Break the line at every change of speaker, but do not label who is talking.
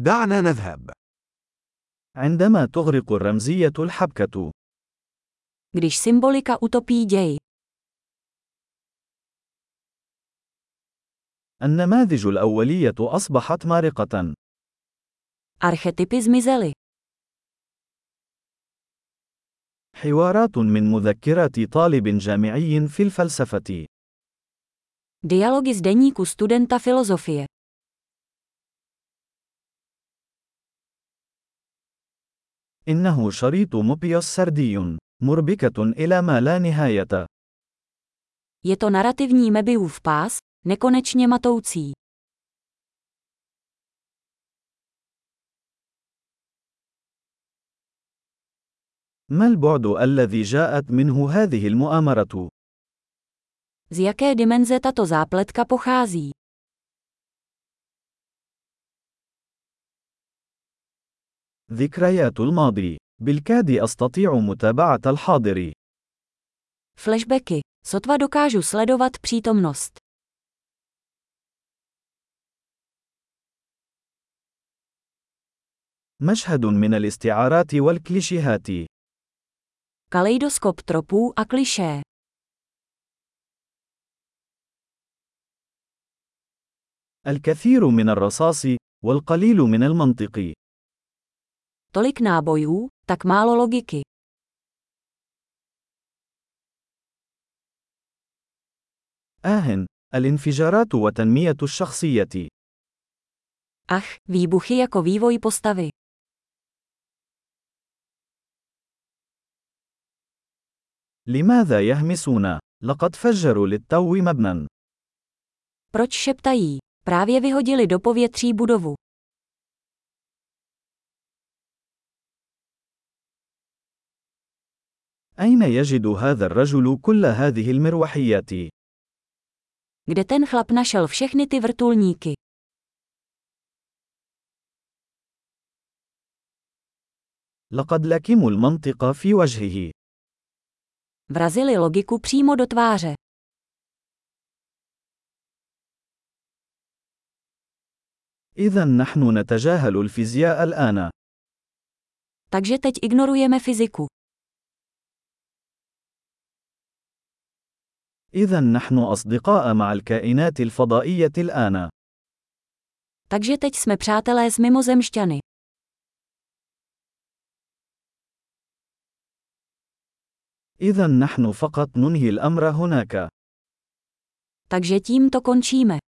دعنا نذهب.
عندما تغرق الرمزية الحبكة،
Když symbolika utopí děj,
النماذج الأولية أصبحت مارقة.
archetypy zmizely.
حوارات من مذكرات طالب جامعي في الفلسفة.
Dialogy z deníku studenta filozofie.
إنه شريط موبيوس سردي، مربكة إلى ما لا نهاية.
Je to narrativní Mebiův pás, nekonečně matoucí.
ما البعد الذي جاءت منه هذه المؤامرة؟
Z jaké dimenze tato zápletka pochází?
ذكريات الماضي. بالكاد أستطيع متابعة الحاضر.
Flashbacky. Sotva dokážu sledovat přítomnost.
مشهد من الاستعارات والكليشيهات.
Kaleidoskop tropů a klišé.
الكثير من الرصاص والقليل من المنطق.
Tolik nábojů, tak málo logiky.
آه الانفجارات وتنمية الشخصية.
Ach, výbuchy jako vývoj postavy.
لماذا يهمسون؟ لقد فجروا للتو مبنى.
Proč šeptají? Právě vyhodili do povětří budovu.
أين يجد هذا الرجل كل هذه المروحيات؟
Kde ten chlap našel všechny ty vrtulníky?
لقد لكموا المنطق في وجهه.
Vrazili logiku přímo do tváře.
إذا نحن نتجاهل الفيزياء الآن.
Takže teď ignorujeme fyziku.
إذا نحن أصدقاء مع الكائنات الفضائية الآن.
Takže teď jsme přátelé s mimozemšťany.
إذا نحن فقط ننهي الأمر هناك.
Takže tím to končíme.